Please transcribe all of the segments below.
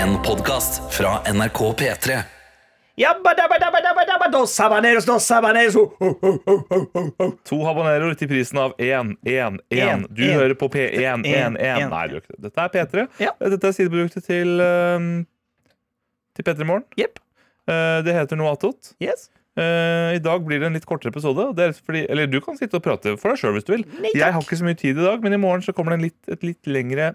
En podcast fra NRK P3 Jabba-dabba-dabba-dabba-dabba-dos habaneros, dos habaneros ho, ho, ho, ho, ho, ho, ho. To habanero til prisen av 1, 1, 1. En, Du en. hører på P1, 1, En, 1. en. Nei, du gjør ikke det. Dette er P3. Ja. Dette er sideproduktet til, ehm, til P3 Morgen. Jepp. Eh, det heter noe attåt. Yes. Eh, I dag blir det en litt kortere episode. og Det er rett fordi, eller du kan sitte og prate for deg sjøl hvis du vil. Nei, Jeg har takk. ikke så mye tid i dag, men i morgen så kommer det en litt, et litt lengre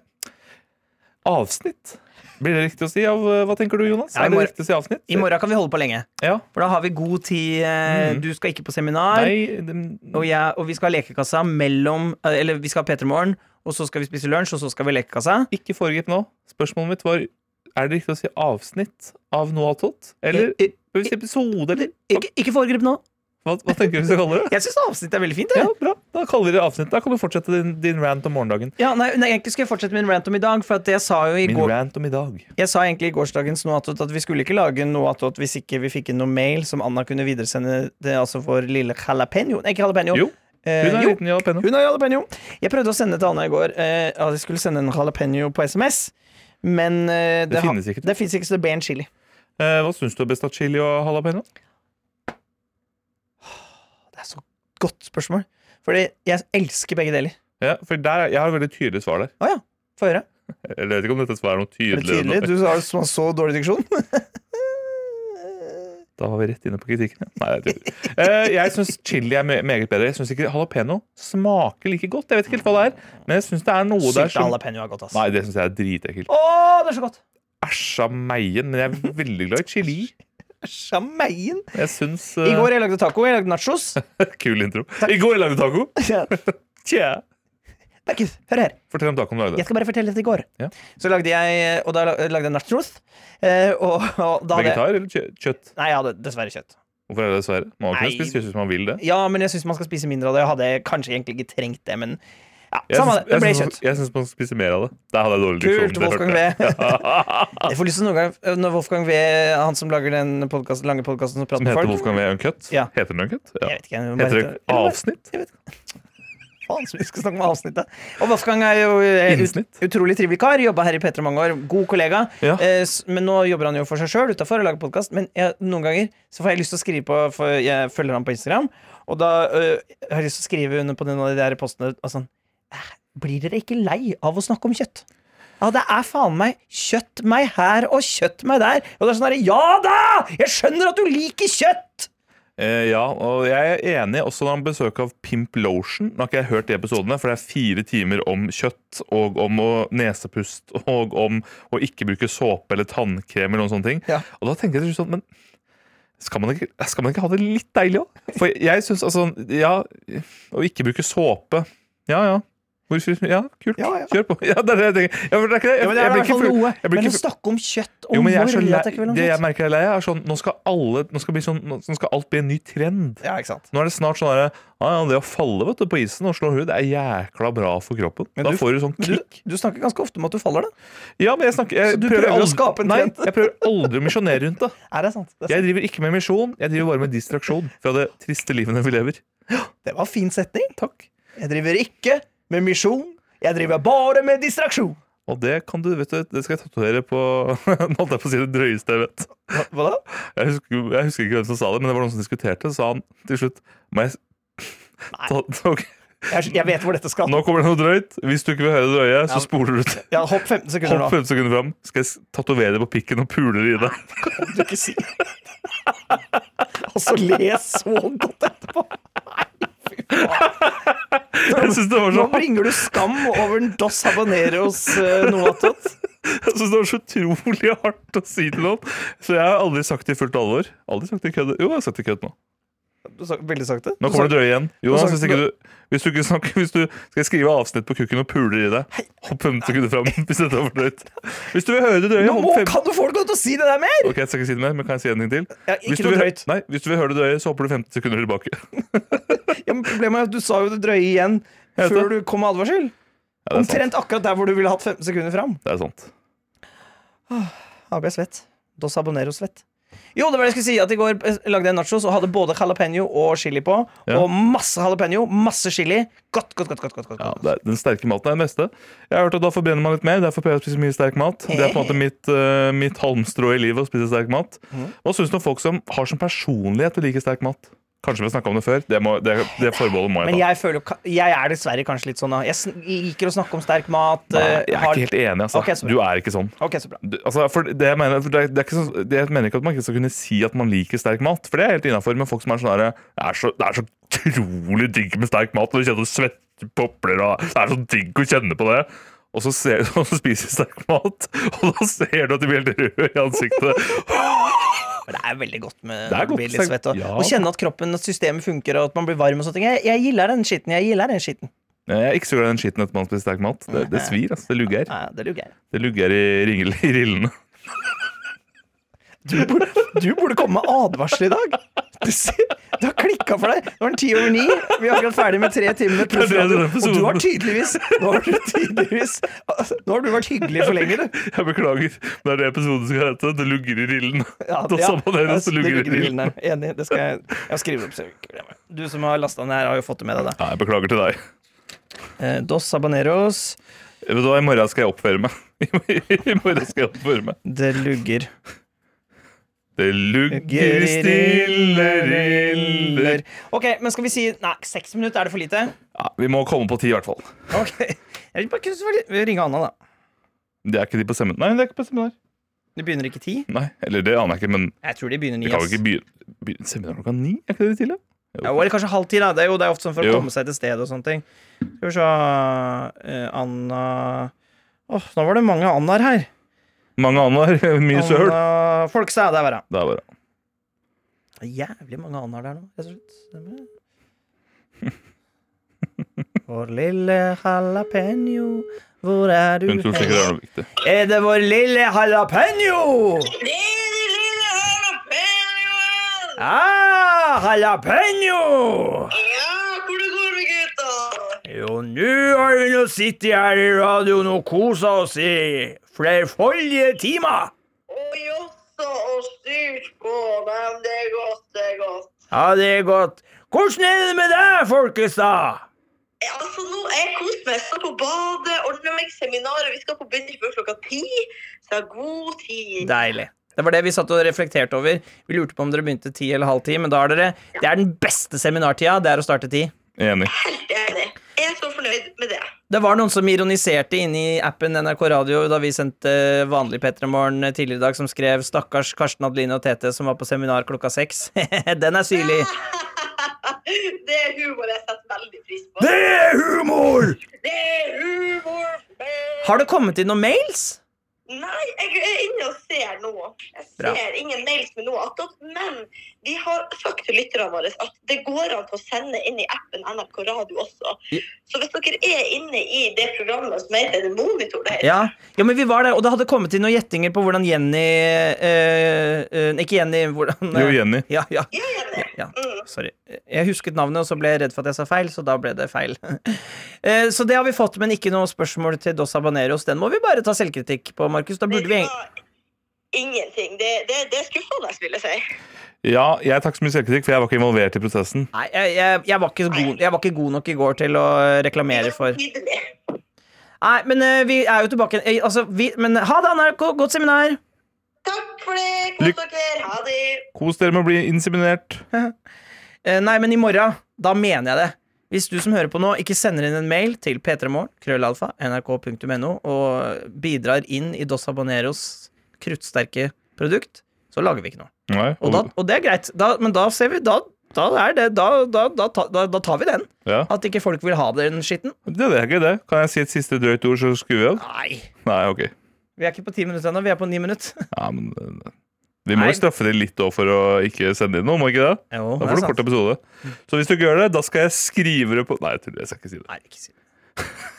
avsnitt. Blir det riktig å si? av, eh, Hva tenker du, Jonas? Ja, i er det morgen- riktig å si avsnitt? I morgen kan vi holde på lenge, Ja. for da har vi god tid. eh, Mm. Du skal ikke på seminar, Nei, det- og, jeg, og vi skal ha lekekassa mellom eh, Eller vi skal ha P3 Morgen, og så skal vi spise lunsj, og så skal vi ha lekekassa. ikke foregrip nå. Spørsmålet mitt var Er det riktig å si avsnitt av noe attåt? Eller Eh, eh, bør vi si episode, eller? Ikke, ikke foregrip nå. Hva, hva tenker du vi skal kalle det? Jeg syns avsnittet er veldig fint. Ja, Jeg. bra. Da kaller vi det avsnitt. Da kan du fortsette din, din rant om morgendagen. Ja, nei, nei, egentlig skulle jeg fortsette min rant om i dag, for at jeg sa jo i Min går rant om i dag. Jeg sa egentlig i gårsdagens noe attåt at vi skulle ikke lage noe attåt hvis ikke vi fikk inn noe mail som Anna kunne videresende til altså vår lille jalapeño. Nei, ikke jalapeño. Jo, Eh, hun er en jo. liten jalapeno. Hun er jalapeño. Jeg prøvde å sende til Anna i går eh, at jeg skulle sende en jalapeño på SMS, men eh, Det har- finnes ikke. Det finnes ikke, så det ble en chili. Eh, hva syns du er best av chili og jalapeño? Det er så godt spørsmål. Fordi jeg elsker begge deler. Ja, for der, jeg har et veldig tydelig svar der. Å ja. Få høre. Jeg vet ikke om dette svaret er noe Er det tydeligere. enn tydelig? det. Du har så, så dårlig diksjon. Da var vi rett inne på kritikken. Nei, jeg tror eh, Jeg syns chili er me- meget bedre. Jeg syns ikke jalapeño smaker like godt. Jeg vet ikke helt hva det er, men jeg syns det er noe Sylta der som jalapeño er godt, ass. Nei, det syns jeg er dritekkelt. Å, det er så godt! Æsja meien, men jeg er veldig glad i chili. Sjamein. Jeg syns I eh, går jeg lagde taco. Jeg lagde nachos. Kul intro. I går lagde taco. Ja. Tja. Markus, hør her. Fortell om tacoen du lagde. Jeg skal bare fortelle dette i går. Ja. Så lagde jeg Og da la- lagde jeg nachos. eh, Og, og da hadde jeg Vegetar eller kjø- kjøtt? Nei, jeg hadde dessverre kjøtt. Hvorfor er det dessverre? Man må Nei. kunne spise kjøtt hvis man vil det. Ja, men jeg syns man skal spise mindre av det. Jeg hadde kanskje egentlig ikke trengt det, men ja, Jeg samme syns- det. Det ble jeg syns- kjøtt. Jeg syns man skal spise mer av det. Der hadde jeg dårlig Kult, diksjon, det Wolfgang hørte jeg. V. Jeg får lyst til noen gang Når Wolfgang V, han som lager den podcasten, lange podkasten som prater Som med heter folk Wolfgang V Uncut? Ja. Heter den Uncut? Ja. Jeg vet ikke. jeg må bare Heter hete- det avsnitt? Jeg vet ikke. Faen, så vi skal snakke om avsnittet. Og Wolfgang er jo eh, ut, Innsnitt. utrolig trivelig kar. Jobba her i P3 mange år. God kollega. Ja. Eh, s- men nå jobber han jo for seg sjøl utafor og lager podkast. Men jeg, noen ganger så får jeg lyst til å skrive på For jeg følger ham på Instagram, og da eh, har jeg lyst til å skrive under på noen av de der postene og sånn eh, Blir dere ikke lei av å snakke om kjøtt? Ja, det er faen meg kjøtt meg her og kjøtt meg der. Og det er sånn herre Ja da! Jeg skjønner at du liker kjøtt! Eh, ja, og jeg er enig også når han besøk av Pimp Lotion. Nå har ikke jeg hørt de episodene, for det er fire timer om kjøtt og om å nesepust og om å ikke bruke såpe eller tannkrem eller noen sånne ting. Ja. Og da tenker jeg til slutt sånn, men skal man, ikke, skal man ikke ha det litt deilig òg? For jeg syns altså Ja, å ikke bruke såpe Ja ja. Hvorfor Ja, kult. Ja, ja. Kjør på. Ja, det er det jeg tenker. Ja, men det er ikke det. Jeg, Ja, men det jeg er i blir hvert ikke fall full- noe. jeg Men blir ikke å full- snakke om kjøtt og jo, men jeg er så hvor lei, at jeg ikke vil om det jeg kjøtt. merker jeg er lei, er sånn Nå skal alle Nå skal, bli sånn, nå skal alt bli en ny trend. Ja, ikke sant. Nå er det snart sånn derre ah, ja, Det å falle vet du, på isen og slå huet, det er jækla bra for kroppen. Men da du- får du sånn Men du, kick. du snakker ganske ofte om at du faller, da. Ja, men jeg snakker jeg Så du prøver å aldri- skape en Nei, trend? jeg prøver aldri å misjonere rundt det. Er det sant? Det, er sant. Jeg driver ikke med misjon, jeg driver bare med distraksjon fra det triste livene vi lever. det var en fin setning. Takk. Jeg driver ikke med misjon. Jeg driver bare med distraksjon. Og det kan du, vet du, det skal jeg tatovere på Nå holdt jeg på å si det drøyeste jeg vet. Hva, hva da? Jeg husker, jeg husker ikke hvem som sa det, men det var noen som diskuterte, så sa han til slutt Må jeg ta, ok, Jeg, jeg vet hvor dette skal. Nå kommer det noe drøyt. Hvis du ikke vil høre det drøye, Ja. så spoler du til. Ja, hopp 15 sekunder Hopp nå. 15 sekunder fram. Skal jeg s- tatovere det på pikken og puler i det. Kan du ikke si Og så les så godt etterpå. Nei, fy faen. Jeg syns det, var Nå så- bringer du skam over en Dos Habaneros eh, noe attåt. jeg synes det var så utrolig hardt å si til noen. Så jeg har aldri sagt det i fullt alvor. Aldri sagt det i kødd. Jo, jeg har sagt det i kødd nå. Du sa- Veldig sakte. Nå kommer det drøye igjen. Jonas, sa- hvis, ikke du, hvis du ikke snakker Hvis du skal jeg skrive avsnitt på kukken og puler i det, hopp 15 sekunder fram hvis dette var for drøyt. Hvis du vil høre det drøye, Nå hopp må, 15 kan du få deg til å si det der mer? Ok, jeg skal ikke si det mer, men kan jeg si en ting til? Ja, Hvis ikke du noe vil- drøyt. Nei, hvis du vil høre det drøye, så hopper du 15 sekunder tilbake. Ja, men problemet er at du sa jo det drøye igjen Jeg vet før du det. kom med advarsel. Ja, det, er sant. Omtrent akkurat der hvor du ville hatt 15 sekunder fram. det er sant. Da ble jeg svett. Dos abonero svett. Jo, det var det jeg skulle si. At i går eh, lagde jeg nachos og hadde både jalapeño og chili på. Ja. Og masse jalapeño, masse chili. Godt, godt, godt. godt, godt, godt. Ja, det er, Den sterke maten er det meste. Jeg har hørt at Da forbrenner man litt mer. Derfor prøver jeg å spise mye sterk mat. Det er på en måte mitt, eh, mitt halmstrå i livet å spise sterk mat. Mm. Hva syns du om folk som har som personlighet å like sterk mat? Kanskje vi har snakka om det før. Det, må, det, det forbeholdet må Men jeg ta. jeg føler jo ka- Jeg er dessverre kanskje litt sånn da. Jeg sn- liker å snakke om sterk mat. Nei, eh, jeg er har- ikke helt enig. Altså. Ok, så bra. du er ikke sånn. Ok, så bra. Du- Altså, for det jeg mener, for det er, det er ikke sånn- det jeg mener ikke at man ikke skal kunne si at man liker sterk mat, for det er helt innafor. Men folk som er sånn herre det, er så- det er så utrolig digg med sterk mat, og du kjenner du svetter popler og Det er så digg å kjenne på det. Og så, ser, og så spiser du sterk mat, og da ser du at du blir helt rød i ansiktet. Men det er veldig godt med Det er godt å bli litt sterk- svett. Og, Ja. og kjenne at kroppen, at systemet funker, og at man blir varm og sånne ting. Jeg, jeg gillar den skitten. Jeg gillar den skitten. Jeg er ikke så glad i den skitten etter man spiser sterk mat. Det, det svir, altså. Det lugger. Ja, det lugger jeg. Det lugger i, ringel, i rillene. Du burde, du burde komme med advarsel i dag. Du, ser, det har klikka for deg. Nå er den ti over ni. Vi er akkurat ferdig med tre timer med Det er det proffradio. denne Og du har episoden- tydeligvis Nå har du tydeligvis Nå har du vært hyggelig for lenge, du. Jeg beklager, men det er det episoden skal hete. Det lugger i rillen. det ja. samme det, Ja, det lugger i rillen. der. Enig. Det skal jeg, jeg skriver opp. Så jeg ikke glemmer det. Du som har lasta den her, har jo fått det med deg. da. Ja, jeg beklager til deg. Eh, Dos habaneros, Vet du hva, I morgen skal jeg oppføre meg. I morgen skal jeg oppføre meg. det lugger. Det lugger i stille riller Ok, men skal vi si Nei, seks minutter er det for lite. ja, Vi må komme på ti, i hvert fall. Ok. Jeg vil bare kunne selvfølgelig ringe Anna, da. Det er ikke de på seminar. Nei, det er ikke på seminar. De begynner ikke ti? Nei, Eller det aner jeg ikke, men Jeg tror de begynner ni. vi kan jo ass. ikke begynne begynne seminar klokka ni? Er ikke det de tidlig? Ja, eller kanskje halv ti, da. Det er jo det er ofte sånn for Jo. å komme seg til stedet og sånne ting. Skal vi se eh, Anna Åh, nå var det mange Annaer her. Mange annar. Mye søl. Anna Folkstad, der var hun. Det er bare Det er Jævlig mange Annaer der nå, rett og slett. Stemmer. Vår lille jalapeño, hvor er du Hun tror sikkert det er noe viktig. Er det vår lille jalapeño? Ah, jalapeño! Jo, nå har vi nå sittet her i radioen og kosa oss i flerfoldige timer. Ja, det er godt. Hvordan er det med deg, Folkestad? Seminaret. Vi skal på Binders Bø klokka ti, så jeg har god tid. Deilig. Det var det vi satt og reflekterte over. Vi lurte på om dere begynte ti eller halv ti, men da er dere Det er den beste seminartida, det er å starte ti. Enig. Helt enig. Jeg er så fornøyd med det. Det var noen som ironiserte inne i appen NRK Radio da vi sendte vanlig P3 Morgen tidligere i dag, som skrev 'Stakkars Karsten Adeline og Tete som var på seminar klokka seks'. Den er syrlig. Det er humor jeg setter veldig pris på. Det er humor! Det er humor! Har det kommet inn noen mails? Nei, jeg er inne og ser nå. Jeg Bra. ser ingen mails med noe attåt. Men vi har sagt til lytterne våre at det går an til å sende inn i appen NRK Radio også. Ja. Så hvis dere er inne i det programmet som heter The Monitor, det heter, Ja. ja, men vi var der, og det hadde kommet inn noen gjettinger på hvordan Jenny eh, eh, Ikke Jenny, hvordan eh, Jo, Jenny. Ja, ja, ja, Jenny. ja. Mm. Sorry. Jeg husket navnet, og så ble jeg redd for at jeg sa feil, så da ble det feil. Eh, så det har vi fått, men ikke noe spørsmål til Dos Habaneros. Den må vi bare ta selvkritikk på, Markus. Da burde vi Det var Ingenting. Det, det, det er skuffende, vil jeg si. Ja, jeg tar ikke så mye selvkritikk, for jeg var ikke involvert i prosessen. Nei, jeg, jeg, jeg, var ikke god, jeg var ikke god nok i går til å reklamere for Nydelig. Nei, men eh, vi er jo tilbake igjen. Eh, altså, vi, Men ha det, NRK. Godt seminar. Takk for det. Kos dere. Ha det. Kos dere med å bli inseminert. Eh, nei, men i morgen, da mener jeg det. Hvis du som hører på nå, ikke sender inn en mail til p3morgen, krøllalfa, nrk.no, og bidrar inn i Dos Habaneros kruttsterke produkt, så lager vi ikke noe. Nei, Og, da, og det er greit, da, men da ser vi Da, da er det da, da, da, ta- da, da tar vi den. ja. At ikke folk vil ha den skitten. Det er ikke det. Kan jeg si et siste drøyt ord, så skrur vi av? Nei. Nei, ok. Vi er ikke på ti minutter ennå, vi er på ni minutter. Ja, men eh, Vi må Nei. jo straffe det litt da for å ikke sende inn noe, må ikke det? Jo, Da får du kort episode. Så hvis du ikke gjør det, da skal jeg skrive det på Nei, jeg tuller, jeg skal ikke si det. Nei, ikke si det.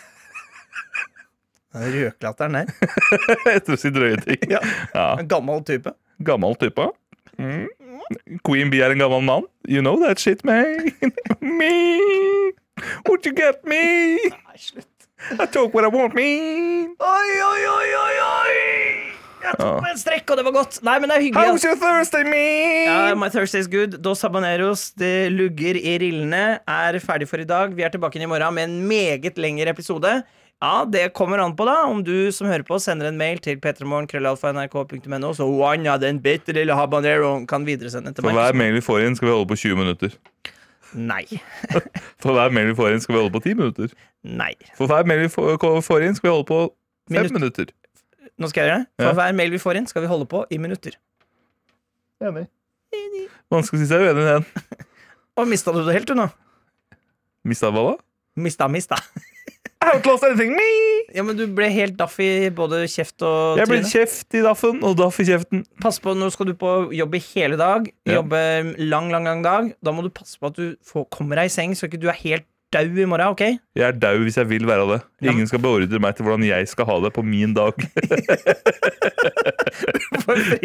Den Røklatteren der. Jeg tror jeg sier drøye ting. Ja. Ja. En gammel type. Gammel type. Mm. Queen Bee er en gammel mann. You know that shit, man. me. Would you get me? Nei, slutt. I talk what I want, me. Oi, oi, oi, oi, oi! Jeg tok meg en strekk, og det var godt. Nei, men det er hyggelig. altså. How's your Thursday, me? Ja, my Thursday is good. Dos Habaneros, det lugger i rillene, er ferdig for i dag. Vi er tilbake inn i morgen med en meget lengre episode. Ja, det kommer an på, da. Om du som hører på, sender en mail til p3morgen.krøllalfa.nrk.no, så one av den bitte lille habaneroen kan videresende til For hver meg. mail vi får inn, skal vi holde på 20 minutter. Nei. For hver mail vi får inn, skal vi holde på 10 minutter. Nei. For hver mail vi får får inn, skal vi holde på 5 Minutt. minutter. Nå skal jeg gjøre det. For Ja. hver mail vi får inn, skal vi holde på i minutter. Vanskelig å si seg uenig i den. Og mista du det helt, du nå? Mista hva da? Mista, mista. I haven't lost anything, me! Ja, men du ble helt daff i både kjeft og Jeg ble tryne. kjeft i daffen, og daff i kjeften. Pass på, nå skal du på jobb i hele dag. Ja. Jobbe lang, lang, lang dag. Da må du passe på at du får, kommer deg i seng, så ikke du er helt dau i morgen. ok? Jeg er dau hvis jeg vil være det. Ja, men- Ingen skal beordre meg til hvordan jeg skal ha det på min dag. For, fred...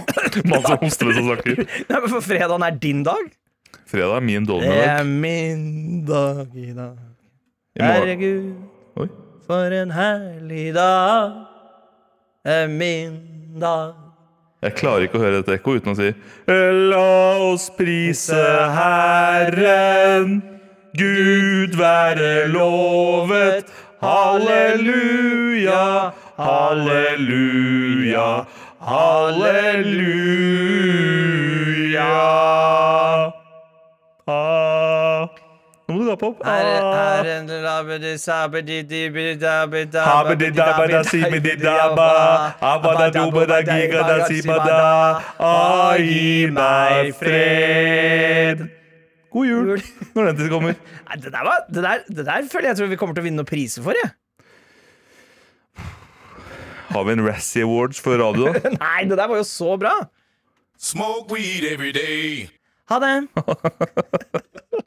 Mann som hoster og snakker. Nei, men for fredagen er din dag. Fredag er min Det dårlige dag. er min dag i dag. I morgen. Herregud, Oi. for en herlig dag. Det er min dag. Jeg klarer ikke å høre dette ekko uten å si La oss prise Herren, Gud være lovet. Halleluja, halleluja, halleluja. Ah. Nå må du gape opp. Ah. Er, er, labedi, sabedi, dibi, dabi, daba, Habidi daba da sibidi daba Abada duba da giga da sibada Ah, gi meg fred God jul Når den tid kommer Nei, det, der var, det, der, det der føler jeg tror vi kommer til å vinne noen priser for, jeg. Har vi en Razzie Awards for radio? Nei, det der var jo så bra! Smoke weed every day. Ha det!